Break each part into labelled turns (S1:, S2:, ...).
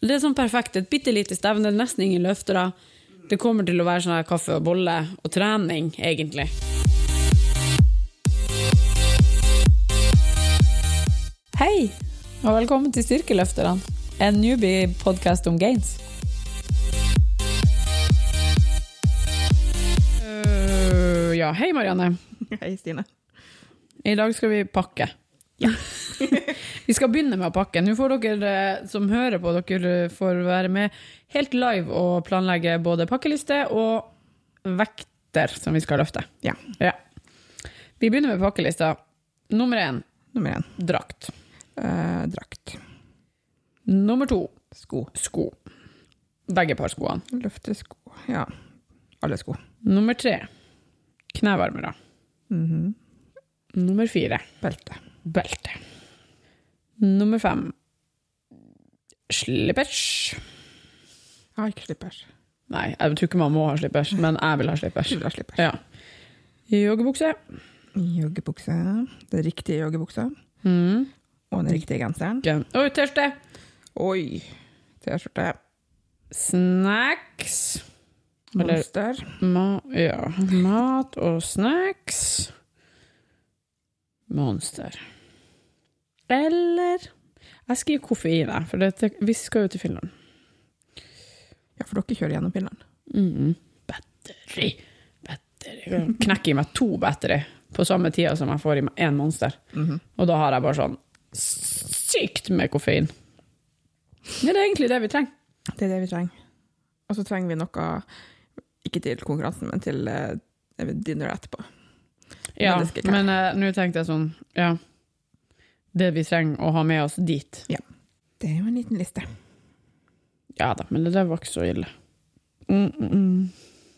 S1: Det er sånn perfekt. Et bitte lite stevne, nesten ingen løftere. Det kommer til å være sånn her kaffe og bolle og trening, egentlig. Hei, og velkommen til Styrkeløfterne. En newbie-podkast om gains. Øh, ja, hei Marianne.
S2: Hei, Stine.
S1: I dag skal vi pakke.
S2: Ja.
S1: vi skal begynne med å pakke. Nå får dere eh, som hører på, dere får være med helt live og planlegge både pakkeliste og vekter som vi skal løfte.
S2: Ja.
S1: Ja. Vi begynner med pakkelista. Nummer én
S2: Nummer én
S1: drakt.
S2: eh, drakt.
S1: Nummer to sko. sko. Begge par skoene.
S2: Løftesko. Ja. Alle sko.
S1: Nummer tre knevarmere.
S2: Mhm.
S1: Nummer fire
S2: Belte.
S1: belte. Nummer fem slippers.
S2: Jeg har ikke slippers.
S1: Nei, jeg tror ikke man må ha slippers, men jeg vil ha slippers.
S2: Du vil ha slippers.
S1: Ja. Joggebukse.
S2: Joggebukse. Den riktige joggebuksa.
S1: Mm.
S2: Og den riktige genseren.
S1: Gen- Oi, T-skjorte.
S2: Oi! T-skjorte.
S1: Snacks. Eller-
S2: Monster.
S1: Ma ja. Mat og snacks. Monster. Eller Jeg skriver koffein, jeg, for dette, vi skal jo til Finland.
S2: Ja, for dere kjører gjennom Finland.
S1: Mm. Batteri. Batteri. Jeg Knekker i meg to batteri på samme tida som jeg får i meg én monster.
S2: Mhm.
S1: Og da har jeg bare sånn sykt med koffein. Ja, det er egentlig det vi trenger.
S2: Det er det vi trenger. Og så trenger vi noe, ikke til konkurransen, men til eh, dinner etterpå.
S1: Ja,
S2: Men det skal ikke
S1: men eh, nå tenkte jeg sånn, ja. Det vi trenger å ha med oss dit.
S2: Det er jo en liten liste.
S1: Ja da, men det der var ikke så ille. Mm, mm, mm.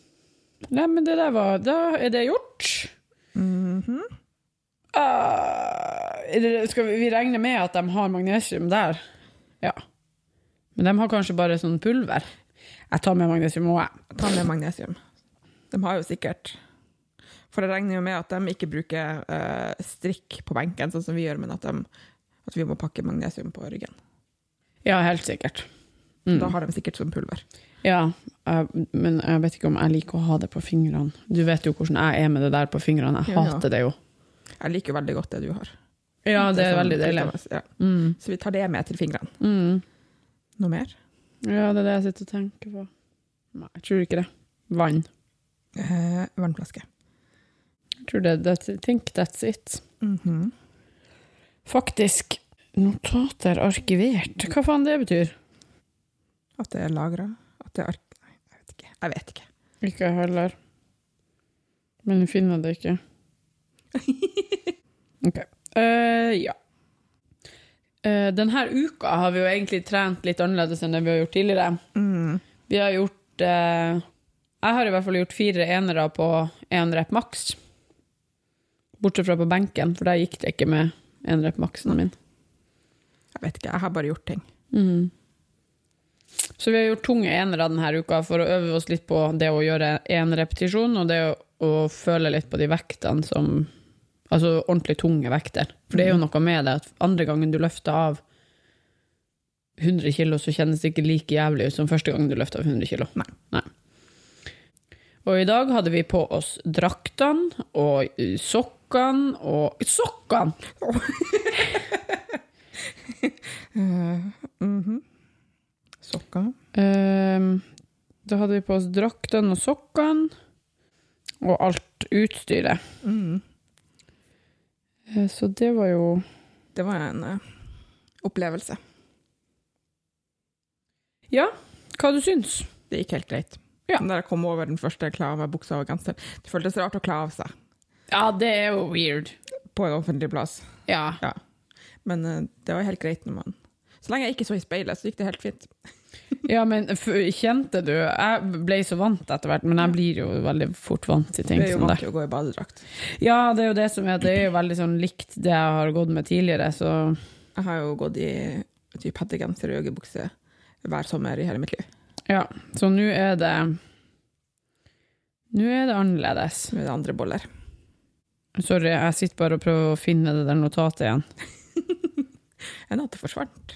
S1: Nei, men det der var Da er det gjort.
S2: Mhm.
S1: Ah, er det- skal vi, vi regner med at de har magnesium der. Ja. Men de har kanskje bare sånn pulver. Jeg tar med magnesium òg, jeg.
S2: Ta med magnesium. De har jo sikkert For jeg regner jo med at de ikke bruker eh, strikk på benken, sånn som vi gjør, men at, de, at vi må pakke magnesium på ryggen.
S1: Ja, helt sikkert. Mm.
S2: Da har de sikkert som pulver.
S1: Ja, jeg, men jeg vet ikke om jeg liker å ha det på fingrene. Du vet jo hvordan jeg er med det der på fingrene. Jeg
S2: Ja, ja.
S1: hater det jo.
S2: Jeg liker jo veldig godt det du har.
S1: Ja, det er
S2: sånn-
S1: veldig deilig.
S2: Ja.
S1: Mm.
S2: Så vi tar det med til fingrene.
S1: Mm.
S2: Noe mer?
S1: Ja, det er det jeg sitter og tenker på. Nei, jeg tror ikke det. Vann.
S2: Eh, vannflaske.
S1: Jeg tror det, that's, I think that's it.
S2: Mhm.
S1: Faktisk, notater arkivert. Hva faen det betyr?
S2: At det er lagra. At det er ark... Nei, jeg vet ikke. Jeg vet ikke.
S1: Ikke jeg heller. Men jeg finner det ikke. Ok. Eh, ja. Eh, denne uka har vi jo egentlig trent litt annerledes enn det vi har gjort tidligere.
S2: Mm.
S1: Vi har gjort eh, Jeg har i hvert fall gjort fire enere på én rep maks. Bortsett fra på benken, for der gikk det ikke med én rep maksen min.
S2: Jeg vet ikke. Jeg har bare gjort ting.
S1: Mm. Så vi har gjort tunge enere denne uka for å øve oss litt på det å gjøre én repetisjon, og det å, å føle litt på de vektene som Altså ordentlig tunge vekter. For det er jo noe med det at andre gangen du løfter av 100 kilo, så kjennes det ikke like jævlig ut som første gangen du løfter av 100 kilo.
S2: Nei.
S1: Og i dag hadde vi på oss draktene og eh, sokkene og Sokkene! Eh,
S2: Uh, Sokker.
S1: Ehm, da hadde vi på oss draktene og sokkene, og alt utstyret.
S2: Mm.
S1: Eh, Så det var jo
S2: Det var en eh, opplevelse.
S1: Hva du syns?
S2: Det gikk helt greit.
S1: Ja.
S2: Men Da jeg kom over den første kla av meg buksa og genser, det føltes rart å kle av seg
S1: Ja, det er jo weird.
S2: på en offentlig plass.
S1: Ja.
S2: Men eh, det var helt greit når man Så lenge jeg ikke så i speilet, så gikk det helt fint.
S1: ja, men f kjente du Jeg ble så vant etter hvert, men jeg blir jo veldig fort vant til
S2: Du
S1: ting
S2: er jo
S1: som
S2: vant
S1: det.
S2: til å gå i badedrakt.
S1: Ja, det er jo det som er Det er jo veldig sånn likt det jeg har gått med tidligere, så
S2: Jeg har jo gått i typ hettegenser og joggebukse hver sommer i hele mitt liv.
S1: Ja. Så nå er det Nå er det annerledes.
S2: Med det andre boller.
S1: Sorry, jeg sitter bare og prøver å finne det der notatet igjen.
S2: Enn at det forsvant.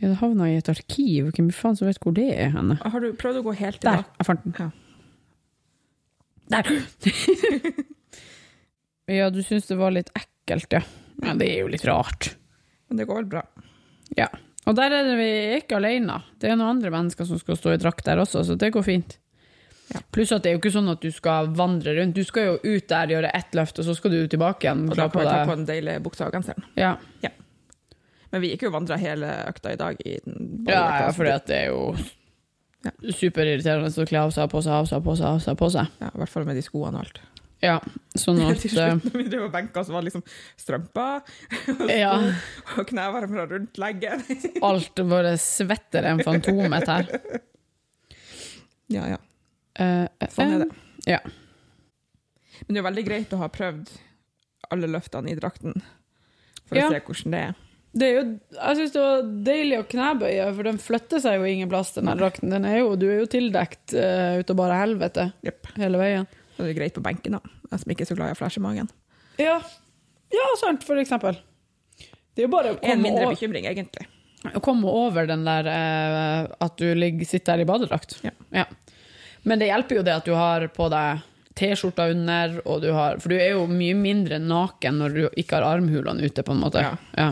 S1: Ja, det havna i et arkiv. Hvem faen som vet hvor det er henne?
S2: Har du prøvd å gå helt i
S1: Der!
S2: dag?
S1: Jeg fant den.
S2: Ja.
S1: Der! ja, du syns det var litt ekkelt, ja. Men det er jo litt rart.
S2: Men det går vel bra.
S1: Ja. Og der er vi ikke alene. Det er noen andre mennesker som skal stå i drakt der også, så det går fint.
S2: Ja.
S1: Pluss at det er jo ikke sånn at du skal vandre rundt. Du skal jo ut der, gjøre ett løft, og så skal du tilbake igjen.
S2: Og da
S1: kla
S2: kan vi ta
S1: deg-
S2: på den deilige buksa og genseren.
S1: Ja,
S2: Men vi gikk jo og vandra hele økta i dag. I den
S1: ja, ja for det er jo
S2: Ja.
S1: superirriterende å kle av seg, på seg, av seg, på seg, av seg, på seg.
S2: Ja, I hvert fall med de skoene og alt.
S1: Ja, sånn at
S2: Til
S1: eh,
S2: slutt når vi drev og benka, så var det liksom strømper
S1: Ja,
S2: og knevarmere rundt leggen.
S1: alt bare svetter en fantomet her.
S2: ja, ja.
S1: Eh, eh,
S2: Sånn er det.
S1: Ja.
S2: Men det er jo veldig greit å ha prøvd alle løftene i drakten for
S1: Ja.
S2: å se hvordan det er.
S1: Det er jo, jeg syns det var deilig å knebøye, for den flytter seg jo ingen plass. Den her drakten. Den er jo, du er jo tildekt eh, ut av bare helvete
S2: Jepp.
S1: hele veien.
S2: Så det er greit på benken, da. Jeg som ikke er så glad i å flashe i magen.
S1: Ja, ja sant, for eksempel. Det er jo bare å
S2: En
S1: komme,
S2: mindre
S1: over,
S2: bekymring, egentlig.
S1: å komme over den der eh, at du ligger, sitter der i badedrakt.
S2: Ja.
S1: Men det hjelper jo det at du har på deg T-skjorta under, og du har, for du er jo mye mindre naken når du ikke har armhulene ute, på en måte.
S2: Ja.
S1: Ja.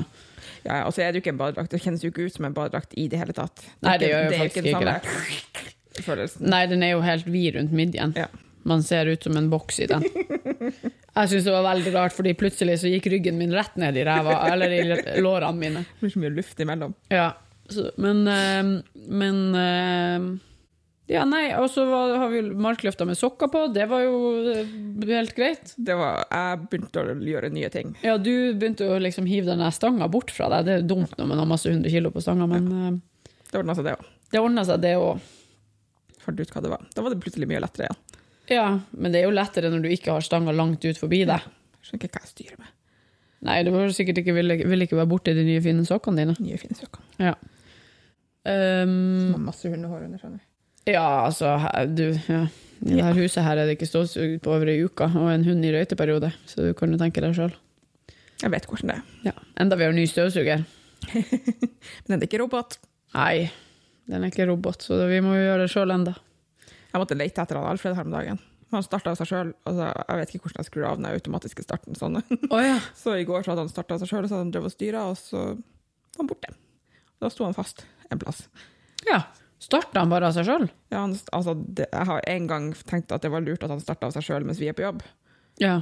S2: Ja, ja, og så er det jo ikke en badedrakt. Det kjennes jo ikke ut som en badedrakt i det hele tatt.
S1: Nei, det
S2: er
S1: gjør jo
S2: er
S1: faktisk
S2: den
S1: ikke
S2: samme Følelsen.
S1: Nei, den er jo helt vid rundt midjen.
S2: Ja.
S1: Man ser ut som en boks i den. Jeg syns det var veldig rart, fordi plutselig så gikk ryggen min rett ned i ræva, eller i lårene mine.
S2: Det blir så mye luft imellom.
S1: Ja, så, men eh, Men eh, Ja, nei, og så var- har vi jo markløfta med sokker på, det var jo eh, helt greit.
S2: Det var, jeg begynte å gjøre nye ting.
S1: Ja, du begynte jo liksom hive den der stanga bort fra deg, det er jo dumt når man har masse 100 kilo på stanga, men eh,
S2: Det ordna seg, det òg.
S1: det ordna seg, det òg.
S2: Fant ut hva det var. Da var det plutselig mye lettere igjen.
S1: Ja, men det er jo lettere når du ikke har stanga langt ut forbi deg.
S2: Skjønner ikke hva jeg styrer med.
S1: Nei, du var sikkert ikke, ville, ville ikke være borti de nye fine sokkene dine.
S2: Nye, fine sokker.
S1: Ja.
S2: Mm.
S1: Ehm,
S2: Masse hundehår under, skjønner du.
S1: ja, altså her- du, ja. I det her huset her er det ikke ståsugd på over ei uke, og en hund i røyteperiode, så du kan jo tenke deg sjøl.
S2: Jeg vet hvordan det er.
S1: Ja. Enda vi har ny støvsuger.
S2: Men den er ikke robot.
S1: Nei, den er ikke robot, så vi må jo gjøre det sjøl enda.
S2: Jeg måtte lete etter han Alfred her om dagen. Han starta av seg sjøl. Altså, jeg vet ikke hvordan jeg skrur av den automatiske starten. Sånn.
S1: Å ja.
S2: Så i går så hadde han starta av seg sjøl, og så hadde han drevet og styra, og så var han borte. Da sto han fast en plass.
S1: ja. Starta han bare av seg sjøl?
S2: Ja, han, altså, det, jeg har en gang tenkt at det var lurt at han starta av seg sjøl mens vi er på jobb.
S1: Ja.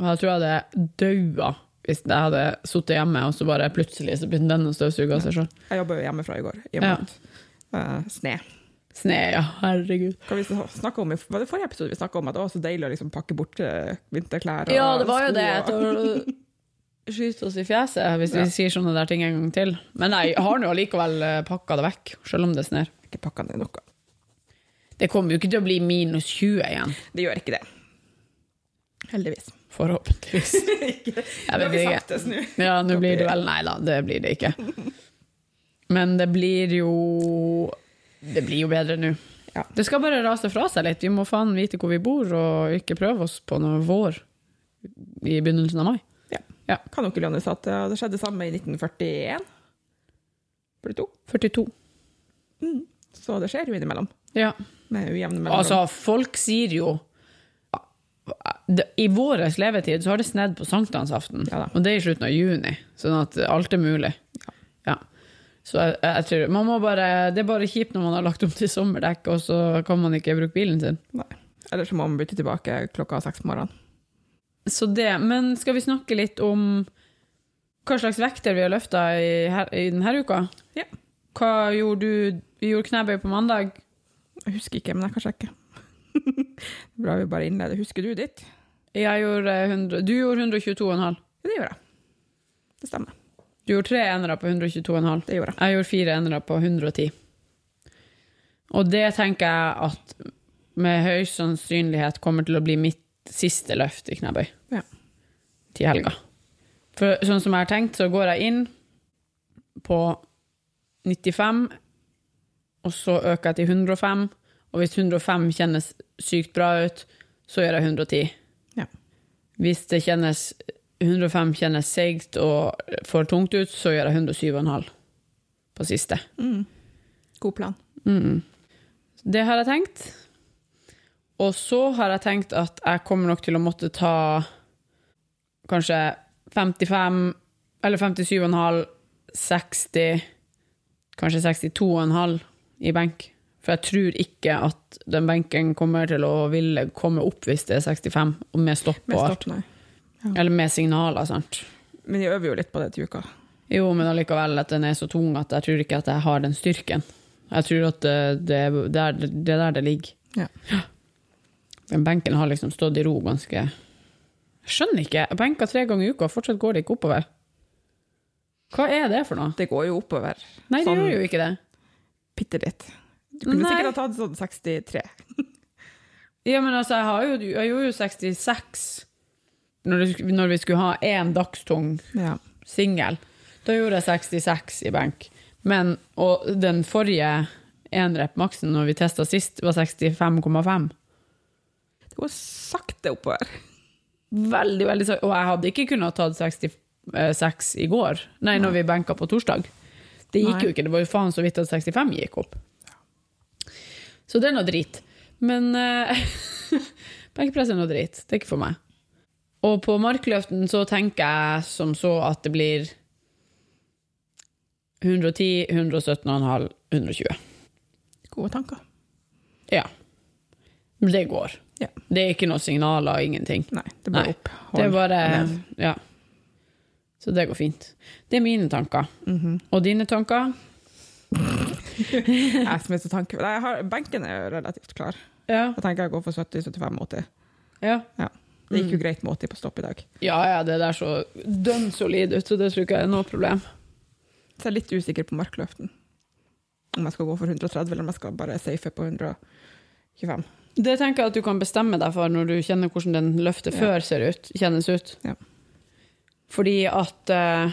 S1: Og jeg tror jeg hadde daua hvis jeg hadde sittet hjemme, og så bare plutselig så begynte den å støvsuge av seg sjøl.
S2: Jeg jobba jo hjemmefra i går, i og
S1: Ja.
S2: med at eh, sne.
S1: Sne, ja. Herregud.
S2: Hva vi snakket om, i- var det forrige episode vi snakka om at det var så deilig å liksom pakke bort eh, vinterklær og
S1: Ja, det var jo
S2: sko
S1: det.
S2: og-
S1: Etter å skyte oss i fjeset hvis
S2: Ja.
S1: vi sier sånne der ting en gang til. Men jeg har nå allikevel eh, pakka det vekk, selv om det sner.
S2: Ikke pakka ned noe.
S1: Det kommer jo ikke til å bli minus 20 igjen,
S2: Det gjør ikke det. Heldigvis.
S1: forhåpentligvis. Jeg
S2: Nå har
S1: vet
S2: vi
S1: ikke.
S2: sagt det, så nå-
S1: Ja, nå blir det vel Nei da, det blir det ikke. Men det blir jo Det blir jo bedre nå.
S2: Ja.
S1: Det skal bare rase fra seg litt. Vi må faen vite hvor vi bor, og ikke prøve oss på noe vår i begynnelsen av mai.
S2: Ja.
S1: Ja.
S2: Kan jo ikke Leonis at eh, det skjedde det samme i 1941? 42.
S1: 42.
S2: Mm. Så det skjer jo innimellom.
S1: Ja.
S2: Med ujevne mellomrom.
S1: Altså, folk sier jo det- I vår levetid så har det snedd på sankthansaften,
S2: Ja da.
S1: og det er i slutten av juni. Sånn at alt er mulig. Ja. Så jeg, jeg tror man må bare, Det er bare kjipt når man har lagt om til sommerdekk, og så kan man ikke bruke bilen sin.
S2: Nei. Eller så må man bytte tilbake klokka seks på morgenen.
S1: Så det, Men skal vi snakke litt om hva slags vekter vi har løfta i, her- i denne uka?
S2: Ja.
S1: Hva gjorde du? Vi gjorde knebøy på mandag.
S2: Jeg husker ikke, men jeg kan sjekke. Det er Bra vi bare innleder. Husker du ditt?
S1: Jeg gjorde 100, du gjorde 122,5.
S2: Ja, det gjør jeg. Det stemmer.
S1: Du gjorde tre enere på 122,5.
S2: Det gjorde jeg.
S1: Jeg gjorde fire endere på 110. Og det tenker jeg at med høy sannsynlighet kommer til å bli mitt siste løft i knebøy
S2: Ja.
S1: til helga. For sånn som jeg har tenkt, så går jeg inn på 95, og så øker jeg til 105. Og hvis 105 kjennes sykt bra ut, så gjør jeg 110.
S2: Ja.
S1: Hvis det kjennes 105 kjennes seigt og for tungt ut, så gjør jeg 107,5. på siste.
S2: Mm. God plan.
S1: Mm. Det har jeg tenkt. Og så har jeg tenkt at jeg kommer nok til å måtte ta kanskje 55, eller 57,5, 60, kanskje 62,5 i benk. For jeg tror ikke at den benken kommer til å ville komme opp hvis det er 65, og med stopp
S2: Med
S1: og alt.
S2: start, nei.
S1: Eller med signaler, sant.
S2: Men jeg øver jo litt på det til uka.
S1: Jo, men allikevel at den er så tung at jeg tror ikke at jeg har den styrken. Jeg tror at det, det, er- det er det er der det ligger.
S2: Ja.
S1: Den benken har liksom stått i ro ganske Jeg skjønner ikke. Jeg benker tre ganger i uka, og fortsatt går det ikke oppover. Hva er det for noe?
S2: Det går jo oppover.
S1: Nei, det
S2: Sånn
S1: gjør jo ikke det.
S2: Bitte litt. Du kunne
S1: Nei.
S2: sikkert ha tatt sånn 63.
S1: Ja, men altså, jeg, har jo, jeg gjorde jo 66 når, det, sk- når vi skulle ha én dagstung
S2: Ja.
S1: singel. Da gjorde jeg 66 i benk. Men, og den forrige enrep-maksen når vi testa sist, var 65,5.
S2: Det går sakte oppover.
S1: Veldig, veldig sakte. Og jeg hadde ikke kunnet tatt 66 eh, i går, nei, når vi benka på torsdag. Det gikk
S2: Nei.
S1: jo ikke. Det var jo faen så vidt at 65 gikk opp. Så det er noe drit. Men uh, benkepress er noe drit. Det er ikke for meg. Og på markløften så tenker jeg som så at det blir 110, 117,5, 120.
S2: Gode tanker.
S1: Ja. Men det går.
S2: Ja.
S1: Det er ikke noe signaler, ingenting.
S2: Nei, det blir
S1: Nei,
S2: opp.
S1: Det er
S2: hold,
S1: bare
S2: ned.
S1: Ja. Så det går fint. Det er mine tanker.
S2: Mhm.
S1: Og dine tanker?
S2: Jeg som er så tanke... Nei, jeg har, benken er jo relativt klar.
S1: Ja.
S2: Jeg tenker jeg går for 70, 75, 80.
S1: Ja,
S2: Ja. Det gikk jo greit med 80 på stopp i dag.
S1: ja, ja det der så dønn solid ut, så det tror ikke jeg er noe problem.
S2: Så jeg er litt usikker på markløften. Om jeg skal gå for 130, eller om jeg skal bare safe på 125.
S1: Det tenker jeg at du kan bestemme deg for når du kjenner hvordan den løftet
S2: Ja.
S1: før ser ut, kjennes ut.
S2: Ja.
S1: Fordi at eh,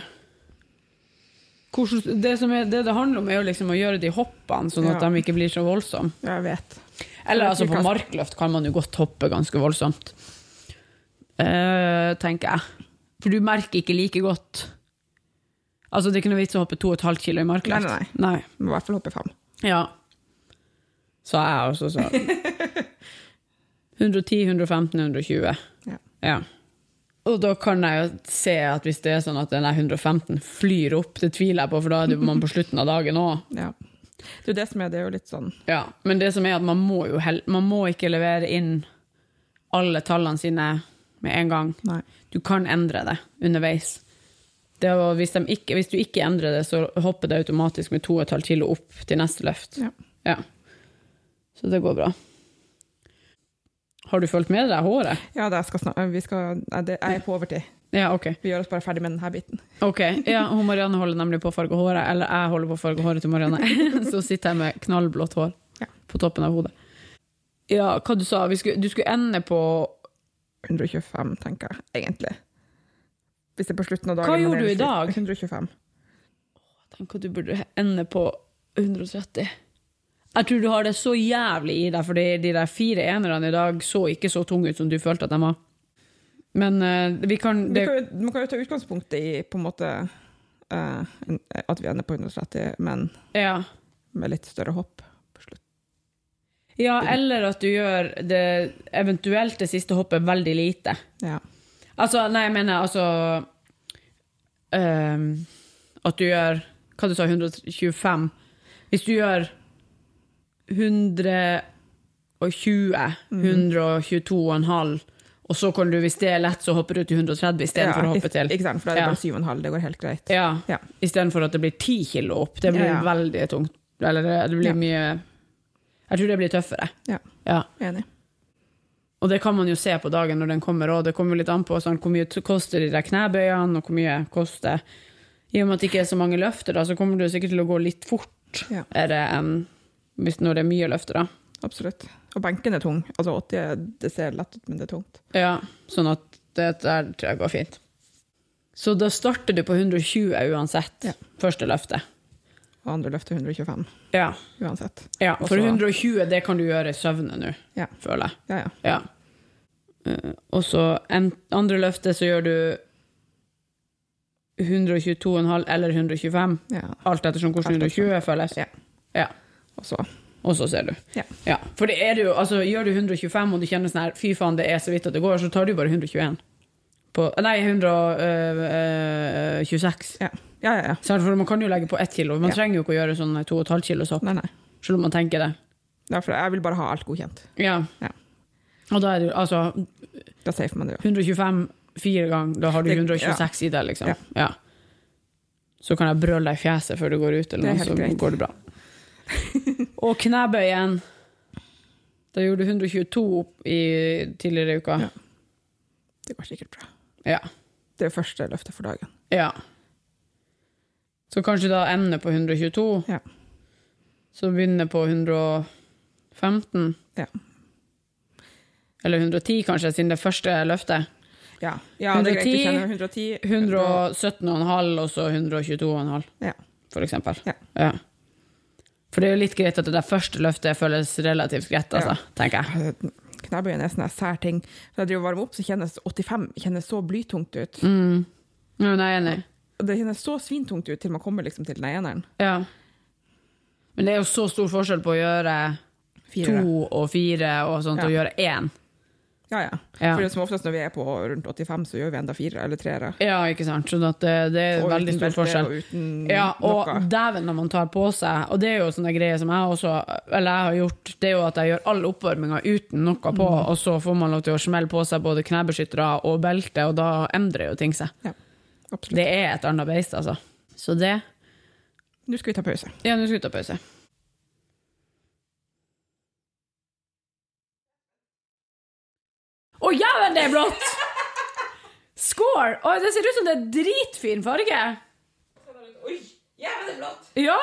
S1: hvordan, det, som er, det det handler om, er jo liksom å gjøre de hoppene, sånn at
S2: Ja.
S1: de ikke blir så voldsomme.
S2: Ja, jeg vet.
S1: Eller
S2: Jeg
S1: altså,
S2: liker
S1: på
S2: at-
S1: markløft kan man jo godt hoppe ganske voldsomt. Eh, tenker jeg. For du merker ikke like godt Altså, det er ikke noe vits å hoppe 2,5 kilo i markløft.
S2: Nei,
S1: nei.
S2: Må i hvert fall hoppe i fem.
S1: Ja. Så jeg også, så 110, 115, 120.
S2: Ja.
S1: Ja. Og da kan jeg jo se at hvis det er sånn at den der 115 flyr opp, det tviler jeg på, for da er det man på slutten av dagen òg.
S2: Ja. Det er jo det som er, det er jo litt sånn
S1: Ja, men det som er at man må jo hel man må ikke levere inn alle tallene sine med en gang.
S2: Nei.
S1: Du kan endre det underveis. Det er, jo- hvis, de ikke, hvis du ikke endrer det, så hopper det automatisk med 2,5 kilo opp til neste løft.
S2: Ja.
S1: Så det går bra. Har du fulgt med deg håret?
S2: Ja, det jeg skal snak- vi skal, nei, det, jeg er på overtid.
S1: Ja, ok.
S2: Vi gjør oss bare ferdig med denne biten.
S1: Ok, ja, hun Marianne holder nemlig på å farge håret, eller jeg holder på å farge håret til Marianne. Så sitter jeg med knallblått hår
S2: Ja.
S1: på toppen av hodet. Ja, hva du sa? Vi skulle, du skulle ende på
S2: 125, tenker jeg, egentlig. Hvis det er på slutten av dagen.
S1: Hva
S2: man
S1: gjorde
S2: er
S1: du i
S2: litt
S1: dag?
S2: sliten. 125.
S1: Tenk at du burde ende på 130. Jeg tror du har det så jævlig i deg, for de der fire enerne i dag så ikke så tunge ut som du følte at de var. Men eh, vi kan,
S2: Vi
S1: det,
S2: kan, jo- man kan jo ta utgangspunkt i på en måte eh, en- at vi ender på 130, men
S1: ja.
S2: med litt større hopp på slutt.
S1: ja, eller at du gjør det eventuelt det siste hoppet veldig lite.
S2: Ja.
S1: Altså, nei, jeg mener altså ehm, At du gjør Hva du sa, 125 Hvis du gjør 120
S2: Mhm.
S1: 122,5 og så kan du, hvis det er lett, så hopper du til 130 istedenfor for å hoppe til.
S2: Ikke sant, for da er det
S1: Ja.
S2: bare 7,5, det går helt greit.
S1: Ja,
S2: Ja.
S1: Istedenfor at det blir 10 kilo opp. Det blir
S2: Ja, ja.
S1: veldig tungt. Eller det, det blir
S2: Ja.
S1: mye Jeg tror det blir tøffere.
S2: Ja.
S1: ja.
S2: Enig.
S1: Og det kan man jo se på dagen når den kommer òg. Det kommer jo litt an på sånn, hvor mye t- koster de der knebøyene, og hvor mye koster I og med at det ikke er så mange løfter, da, så kommer du sikkert til å gå litt fortere
S2: Ja.
S1: enn hvis når det er mye løfter. da.
S2: Absolutt. Og benken er tung. Altså 80, er- det ser lett ut, men det er tungt.
S1: Ja, sånn at det der tror jeg går fint. Så da starter du på 120 uansett,
S2: Ja.
S1: første løftet.
S2: Og andre løfter 125,
S1: Ja.
S2: uansett.
S1: ja for
S2: Og så-
S1: 120, det kan du gjøre i søvne nå,
S2: Ja.
S1: føler jeg.
S2: Ja, ja.
S1: Ja. Eh, og så en- andre løftet så gjør du 122,5 eller 125.
S2: Ja.
S1: Alt ettersom hvordan
S2: Alt ettersom.
S1: 120 føles.
S2: Ja.
S1: Ja.
S2: Og så
S1: Og så ser du.
S2: Ja.
S1: For det er det jo, altså, gjør du 125 og du kjenner sånn her, fy faen, det er så vidt at det går, så tar du bare 121. På, nei, 126.
S2: Ja, ja, ja. ja.
S1: eh, Så for man kan jo legge på ett kilo. Man
S2: Ja.
S1: trenger jo ikke å gjøre sånn 2,5 kilos opp,
S2: Nei, nei.
S1: selv om man tenker det.
S2: Ja, for jeg vil bare ha alt godkjent.
S1: Ja.
S2: Ja.
S1: Og da er det jo altså
S2: Da safer man det jo.
S1: 125 fire ganger, da har du
S2: Det-
S1: 126 i deg, liksom.
S2: Ja.
S1: Ja. Så kan jeg brølle deg i fjeset før du går ut,
S2: Det er
S1: eller noe,
S2: helt
S1: så
S2: greit.
S1: går det bra. Og knebøyen. Da gjorde du 122 opp i tidligere i uka.
S2: Ja. Det går sikkert bra.
S1: Ja.
S2: Det er jo første løftet for dagen.
S1: ja. Så kanskje da ender på 122,
S2: Ja.
S1: så begynner på 115.
S2: Ja.
S1: Eller 110, kanskje, siden det første løftet.
S2: Ja, ja det er greit. Du
S1: 110,
S2: kjenner 110.
S1: 117,5 og så 122,5.
S2: Ja.
S1: for eksempel.
S2: Ja.
S1: For det er jo litt greit at det der første løftet føles relativt greit, altså, tenker
S2: Eh,
S1: jeg.
S2: Knebøyen er sånn en sær ting. Når jeg driver og varmer opp, så kjennes 85 kjennes så blytungt ut.
S1: Mm. Ja, men jeg er enig.
S2: Og det kjennes så svintungt ut til man kommer liksom til den eneren.
S1: Ja. Men det er jo så stor forskjell på å gjøre
S2: To.
S1: to og fire og sånt,
S2: Ja.
S1: og gjøre én.
S2: Ja, ja.
S1: Ja.
S2: For det er som oftest når vi er på rundt 85, så gjør vi enda fire eller treere.
S1: Ja, ikke sant? Så at det, det er
S2: Og
S1: veldig
S2: uten
S1: stor
S2: belte
S1: forskjell.
S2: Og uten
S1: Ja, og
S2: noe.
S1: dæven når man tar på seg, og det er jo sånne greier som jeg også Eller jeg har gjort, det er jo at jeg gjør all oppvarminga uten noe på,
S2: Mm.
S1: og så får man lov til å smelle på seg både knebeskyttere og belte, og da endrer jo ting seg.
S2: Absolutt.
S1: Det er et annet beist, altså. Så det
S2: Nå skal vi ta pause.
S1: Ja, nå skal vi ta pause. Å, jævlen, det er blått! Score! Å, det ser ut som det er dritfin farge.
S2: Oi, jævlig blått!
S1: Ja!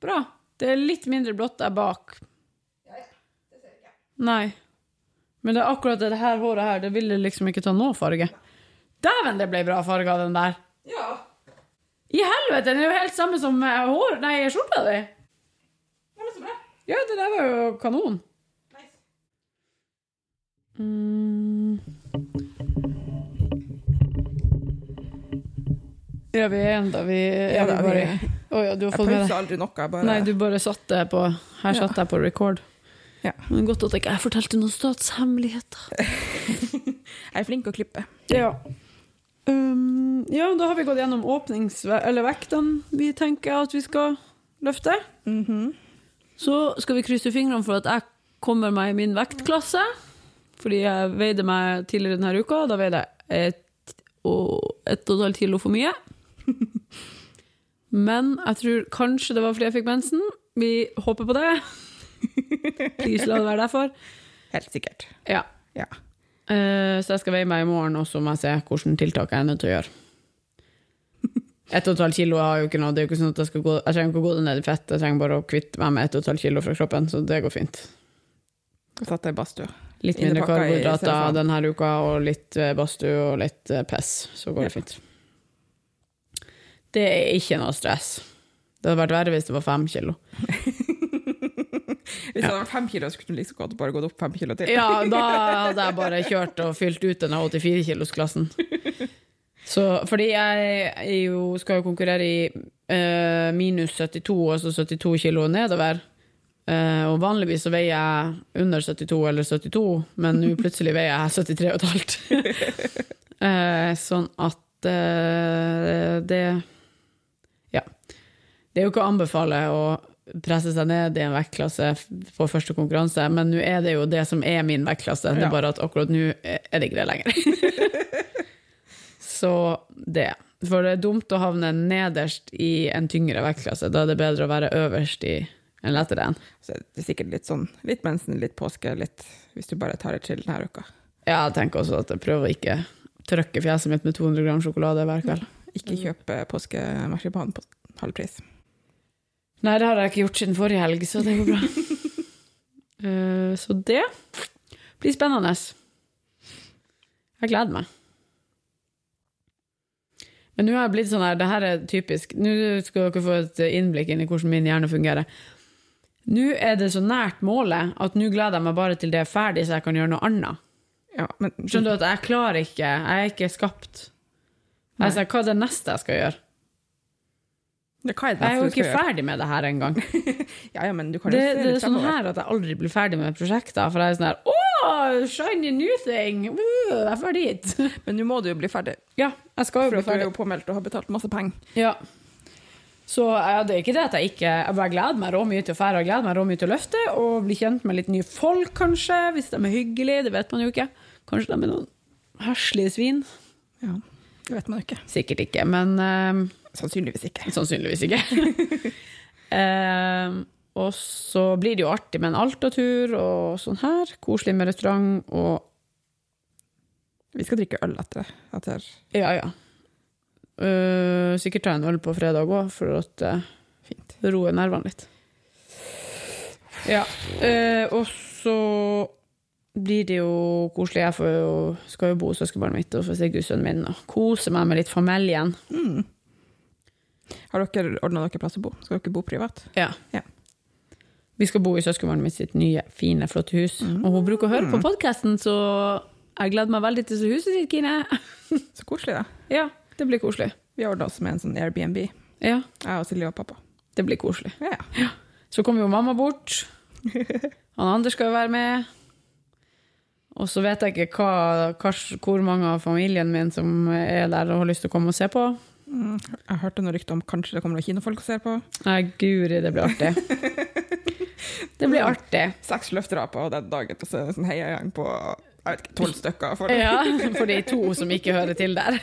S1: Bra. Det er litt mindre blått der bak. Nei. Men det er akkurat det her håret her, det ville liksom ikke ta noe farge. Dæven, det ble bra farge av den der.
S2: Ja.
S1: I helvete, den er jo helt samme som eh, hår, nei, skjorta di.
S2: Det var så bra.
S1: Ja, det der var jo kanon.
S2: Nice.
S1: Mm. Ja, vi er enda vi, ja,
S2: da,
S1: vi
S2: vi-
S1: bare... Å ja, du har
S2: Jeg
S1: fått med
S2: pauser
S1: deg.
S2: aldri noe. jeg Bare...
S1: Nei, du bare satt det på... Her satt jeg på record.
S2: Ja.
S1: Men godt at jeg ikke fortalte noen statshemmeligheter.
S2: Jeg er flink til å klippe.
S1: Ja. Um, ja, da har vi gått gjennom åpnings- eller vektene vi tenker at vi skal løfte. Mhm. Så skal vi krysse fingrene for at jeg kommer meg i min vektklasse. Fordi jeg veide meg tidligere denne uka, og da veide jeg ett og, ett og et halvt kilo for mye. Men jeg tror kanskje det var fordi jeg fikk mensen. Vi håper på det. Please la det være derfor.
S2: Helt sikkert.
S1: Ja,
S2: Ja.
S1: Eh, Så jeg skal veie meg i morgen, og så må jeg se hvilke tiltak jeg er nødt til å gjøre. Ett og et halvt kilo har jeg jo ikke noe. Det er jo ikke sånn at jeg, skal gå, jeg trenger ikke å gå ned i fett, jeg trenger bare å kvitte meg med ett og et halvt kilo fra kroppen, så det går fint.
S2: Og satt jeg i badstua.
S1: Litt mindre
S2: Innepakka i
S1: karbohydrater
S2: cellofan.
S1: denne uka, og litt eh, badstue og litt eh, pess. Så går det fint. Det er ikke noe stress. Det hadde vært verre hvis det var fem kilo.
S2: Hvis det var fem kilo, så kunne du like så godt bare gått opp fem kilo til.
S1: Ja, da hadde jeg bare kjørt og fylt ut denne 84-kilosklassen. Så, fordi jeg er jo, skal jo konkurrere i eh, minus 72, altså 72 kilo nedover. Eh, og vanligvis så veier jeg under 72 eller 72, men nå plutselig veier jeg 73,5. Eh, sånn at eh, det Ja. Det er jo ikke å anbefale å presse seg ned i en vektklasse på første konkurranse, men nå er det jo det som er min vektklasse. Det
S2: Ja.
S1: er bare at akkurat nå er det ikke det lenger. Så det. For det er dumt å havne nederst i en tyngre vektklasse. Da er det bedre å være øverst i en lettere en.
S2: Så det er sikkert litt sånn litt mensen, litt påske, litt hvis du bare tar det til denne uka.
S1: Ja, jeg tenker også at jeg prøver å ikke trøkke fjeset mitt med 200 gram sjokolade hver kveld.
S2: Ikke
S1: Mm.
S2: kjøpe påskemarsipan på halv pris.
S1: Nei, det har jeg ikke gjort siden forrige helg, så det går bra. Eh, så det blir spennende. Jeg gleder meg. Men nå har jeg blitt sånn her, det her er typisk, nå skal dere få et innblikk inn i hvordan min hjerne fungerer. Nå er det så nært målet at nå gleder jeg meg bare til det er ferdig, så jeg kan gjøre noe annet.
S2: Ja, men
S1: Skjønner du at jeg klarer ikke, jeg er ikke skapt. Jeg sa, hva er det neste jeg skal gjøre?
S2: Det, hva er det
S1: Jeg er jo
S2: neste du skal
S1: ikke
S2: gjøre?
S1: ferdig med det her engang.
S2: Ja, ja, men du kan
S1: Det,
S2: jo
S1: det
S2: styre
S1: er
S2: litt
S1: sånn
S2: fremover.
S1: her at jeg aldri blir ferdig med prosjekter, for jeg er sånn her Å, shiny new thing! Uh, jeg er ferdig hit.
S2: Men nå må du jo bli ferdig,
S1: Ja, jeg skal jo
S2: for
S1: bli
S2: at du er
S1: ferdig.
S2: jo påmeldt og har betalt masse penger.
S1: Ja. Så ja, det er ikke det at jeg ikke Jeg bare gleder meg rå mye til å fære og gleder meg rå mye til å løfte. Og bli kjent med litt nye folk, kanskje, hvis de er hyggelige. Det vet man jo ikke. Kanskje de er noen heslige svin.
S2: Ja, det vet man jo ikke.
S1: Sikkert ikke, men eh,
S2: Sannsynligvis ikke.
S1: sannsynligvis ikke. Eh, og så blir det jo artig med en Alta-tur og sånn her. Koselig med restaurant og
S2: Vi skal drikke øl etter. etter.
S1: Ja, ja. Eh, sikkert ta en øl på fredag òg, for at eh,
S2: Fint.
S1: roe nervene litt. Ja. eh, og så blir det jo koselig. Jeg får jo, skal jo bo hos søskenbarnet mitt og få se gudsønnen min og kose meg med litt familien.
S2: Hmm. Har dere ordna dere plass å bo? Skal dere bo privat?
S1: Ja.
S2: Ja.
S1: Vi skal bo i søskenbarnet mitt sitt nye, fine, flotte hus. Og hun bruker å høre på podkasten, så jeg gleder meg veldig til huset sitt, Kine.
S2: Så koselig, da.
S1: ja, det blir koselig.
S2: Vi ordna oss med en sånn Airbnb, jeg
S1: Ja,
S2: og Silje og pappa.
S1: det blir koselig.
S2: Ja, ja.
S1: Så kommer jo mamma bort. Han Anders skal jo være med. Og så vet jeg ikke hva, hva, hvor mange av familien min som er der og har lyst til å komme og se på.
S2: Mm. Jeg hørte noen rykter om kanskje det kommer noen kinofolk og ser på.
S1: Nei, guri, det blir artig. Det blir artig.
S2: Seks løftere på den dagen, og så er det en sånn heiagjeng på jeg vet ikke, tolv stykker. For det.
S1: Ja, for de to som ikke hører til der.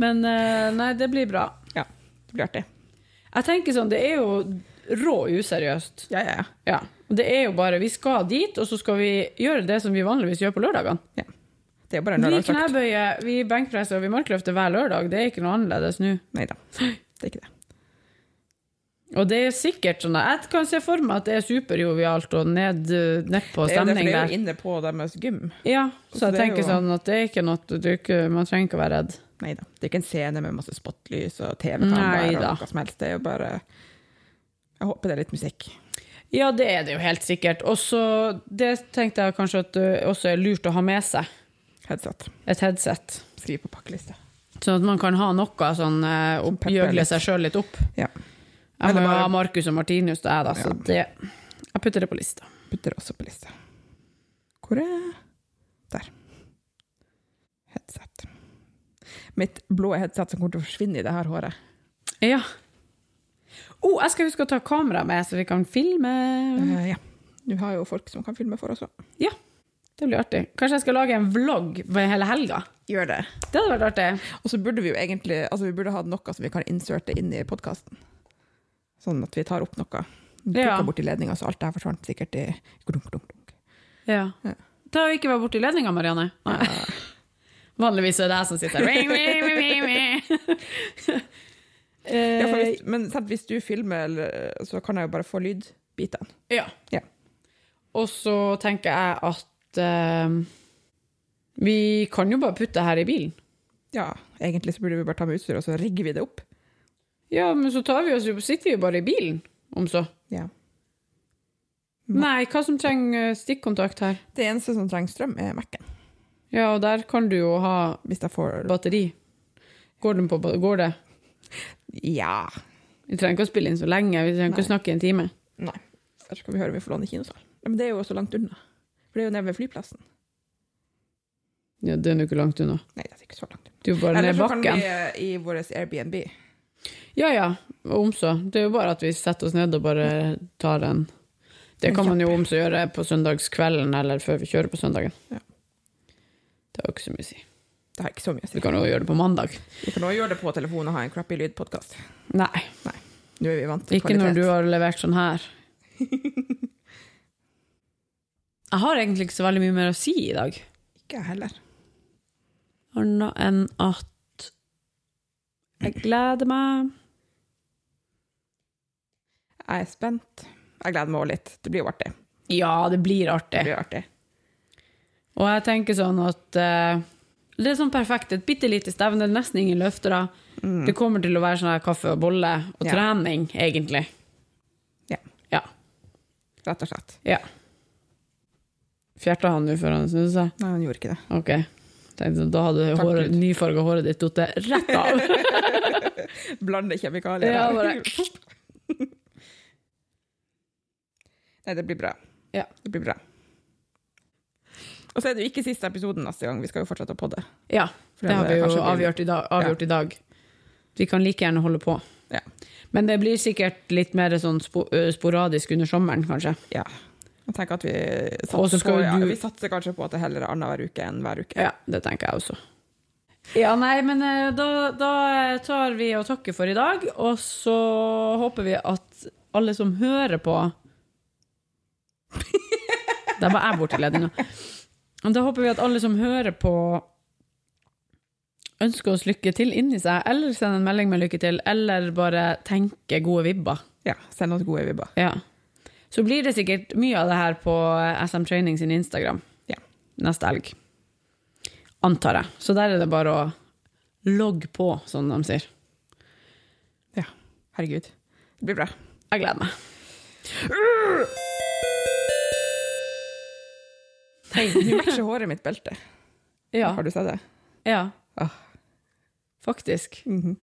S1: Men eh, nei, det blir bra.
S2: Ja, det blir artig.
S1: Jeg tenker sånn, det er jo rå useriøst.
S2: Ja, ja, ja.
S1: Ja. Det er jo bare Vi skal dit, og så skal vi gjøre det som vi vanligvis gjør på lørdagene.
S2: ja. Det er jo bare en
S1: Vi
S2: lørdagsøkt.
S1: knebøyer, vi benkpresser og vi markløfter hver lørdag. Det er ikke noe annerledes nå.
S2: Nei da, det er ikke det.
S1: Og det er sikkert sånn at Jeg kan se for meg at det er superjovialt og ned, nedpå
S2: Det er jo derfor
S1: stemning
S2: det er
S1: der.
S2: jo inne på deres gym.
S1: Ja, så
S2: Så
S1: jeg
S2: det er
S1: tenker
S2: jo-
S1: sånn at det er ikke noe du ikke- Man trenger ikke å være redd.
S2: Nei da. Det er ikke en scene med masse spotlys og
S1: Nei
S2: TV-kameraer og
S1: da.
S2: noe som helst. Det er jo bare Jeg håper det er litt musikk.
S1: Ja, det er det jo helt sikkert. Og så Det tenkte jeg kanskje at det også er lurt å ha med seg.
S2: Headset.
S1: Et headset.
S2: Skriv på pakkeliste.
S1: Sånn at man kan ha noe sånn eh, opp,
S2: pepper litt.
S1: gjøgle seg sjøl litt opp.
S2: Ja.
S1: Jeg må
S2: Eller
S1: jo
S2: bare-
S1: ha Markus og Martinus, det er da, så det Jeg putter det på lista.
S2: Putter også på lista. Hvor er Der. Headset. Mitt blå headset som kommer til å forsvinne i det her håret.
S1: Ja. Oh, jeg skal huske å ta kamera med, så vi kan filme.
S2: Eh, ja. Du har jo folk som kan filme for oss òg.
S1: Ja, det blir artig. Kanskje jeg skal lage en vlogg for hele helga?
S2: Gjør det.
S1: Det hadde vært artig.
S2: Og så burde vi jo egentlig altså vi burde ha noe som vi kan inserte inn i podkasten. Sånn at vi tar opp noe. Plukker
S1: Ja.
S2: bort i ledninga, så alt det her forsvant sikkert i klunk, klunk, klunk.
S1: Ja. Ta og ikke være borti ledninga, Marianne. Nei. Vanligvis er det jeg som sitter her. Ring, ring, ring, ring, ring.
S2: Ja, for
S1: Eh,
S2: hvis, men sant, hvis du filmer, eller- så kan jeg jo bare få lydbitene.
S1: ja.
S2: Ja.
S1: Og så tenker jeg at eh, vi kan jo bare putte det her i bilen.
S2: ja, egentlig så burde vi bare ta med utstyr, og så rigger vi det opp.
S1: Ja, men så tar vi oss, jo- sitter vi jo bare i bilen, om så.
S2: Ja.
S1: Nei, hva som trenger eh, stikkontakt her?
S2: Det eneste som trenger strøm, er Mac-en.
S1: Ja, og der kan du jo ha
S2: Hvis jeg får
S1: batteri. Går, den på, går det?
S2: Ja.
S1: Vi trenger ikke å spille inn så lenge, vi trenger ikke å snakke i en time.
S2: Nei. Der skal vi høre om vi får låne kinosal. Ja, Men det er jo også langt unna. For det er jo nede ved flyplassen.
S1: Ja, det er jo ikke langt unna.
S2: Nei, det er ikke så langt.
S1: Du er bare
S2: Eller
S1: ned
S2: så kan
S1: bakken.
S2: vi eh, i vår Airbnb.
S1: Ja ja, og omså. Det er jo bare at vi setter oss ned og bare tar en Det kan man jo omså gjøre på søndagskvelden eller før vi kjører på søndagen.
S2: Ja.
S1: Det har jo ikke så mye å si.
S2: Det har ikke så mye å si.
S1: Vi kan jo gjøre det på mandag.
S2: Vi kan også gjøre det på telefonen og ha en crappy lydpodkast.
S1: Nei,
S2: Nå er vi vant til
S1: ikke når du
S2: kvalitet.
S1: har levert sånn her. Jeg har egentlig ikke så veldig mye mer å si i dag.
S2: Ikke jeg heller.
S1: Anna enn at jeg gleder meg.
S2: Jeg er spent. Jeg gleder meg også litt. Det blir jo artig.
S1: Ja, det blir
S2: Det
S1: artig.
S2: blir artig.
S1: Eh. Og jeg tenker sånn at eh, det er sånn perfekt. Et bitte lite stevne, nesten ingen løftere. Det kommer til å være sånn her kaffe og bolle og
S2: Mm. Ja.
S1: trening, egentlig.
S2: Ja.
S1: Ja.
S2: Rett og slett.
S1: ja. Fjerta han nå før han snudde seg?
S2: Nei, han gjorde ikke det.
S1: Ok. Tenkte, sånn, da hadde
S2: Takk,
S1: håret,
S2: Gud.
S1: nyfarga håret ditt falt rett av.
S2: Blande kjemikalier.
S1: ja, bare,
S2: Nei, det blir bra.
S1: Ja.
S2: Det blir bra. Og så er det jo ikke siste episoden neste gang. Vi skal jo fortsette å podde.
S1: ja,
S2: For
S1: det har vi jo
S2: kanskje blir-
S1: avgjort i dag. Avgjort i dag. Vi kan like gjerne holde på.
S2: Ja.
S1: Men det blir sikkert litt mer sånn spo ø, sporadisk under sommeren, kanskje.
S2: Ja. Jeg tenker at vi
S1: Og så
S2: satser,
S1: skal
S2: på,
S1: jo
S2: ja,
S1: du-
S2: vi satser kanskje på at det heller er annenhver uke enn hver uke.
S1: Ja, det tenker jeg også. Ja, nei, men eh, da, da tar vi og takker for i dag, og så håper vi at alle som hører på Der var jeg borteledig nå. Og Da håper vi at alle som hører på, ønsker oss lykke til inni seg, eller sender en melding med lykke til, eller bare tenker gode vibber.
S2: Ja, Send oss gode vibber.
S1: Ja. Så blir det sikkert mye av det her på SM Training sin Instagram
S2: Ja.
S1: neste helg. Antar jeg. Så der er det bare å logge på, som de sier.
S2: ja. Herregud. Det blir bra.
S1: Jeg gleder meg.
S2: Hei, nå matcher håret mitt beltet.
S1: Ja.
S2: Har du sett det?
S1: ja.
S2: Ah.
S1: Faktisk.
S2: Mhm.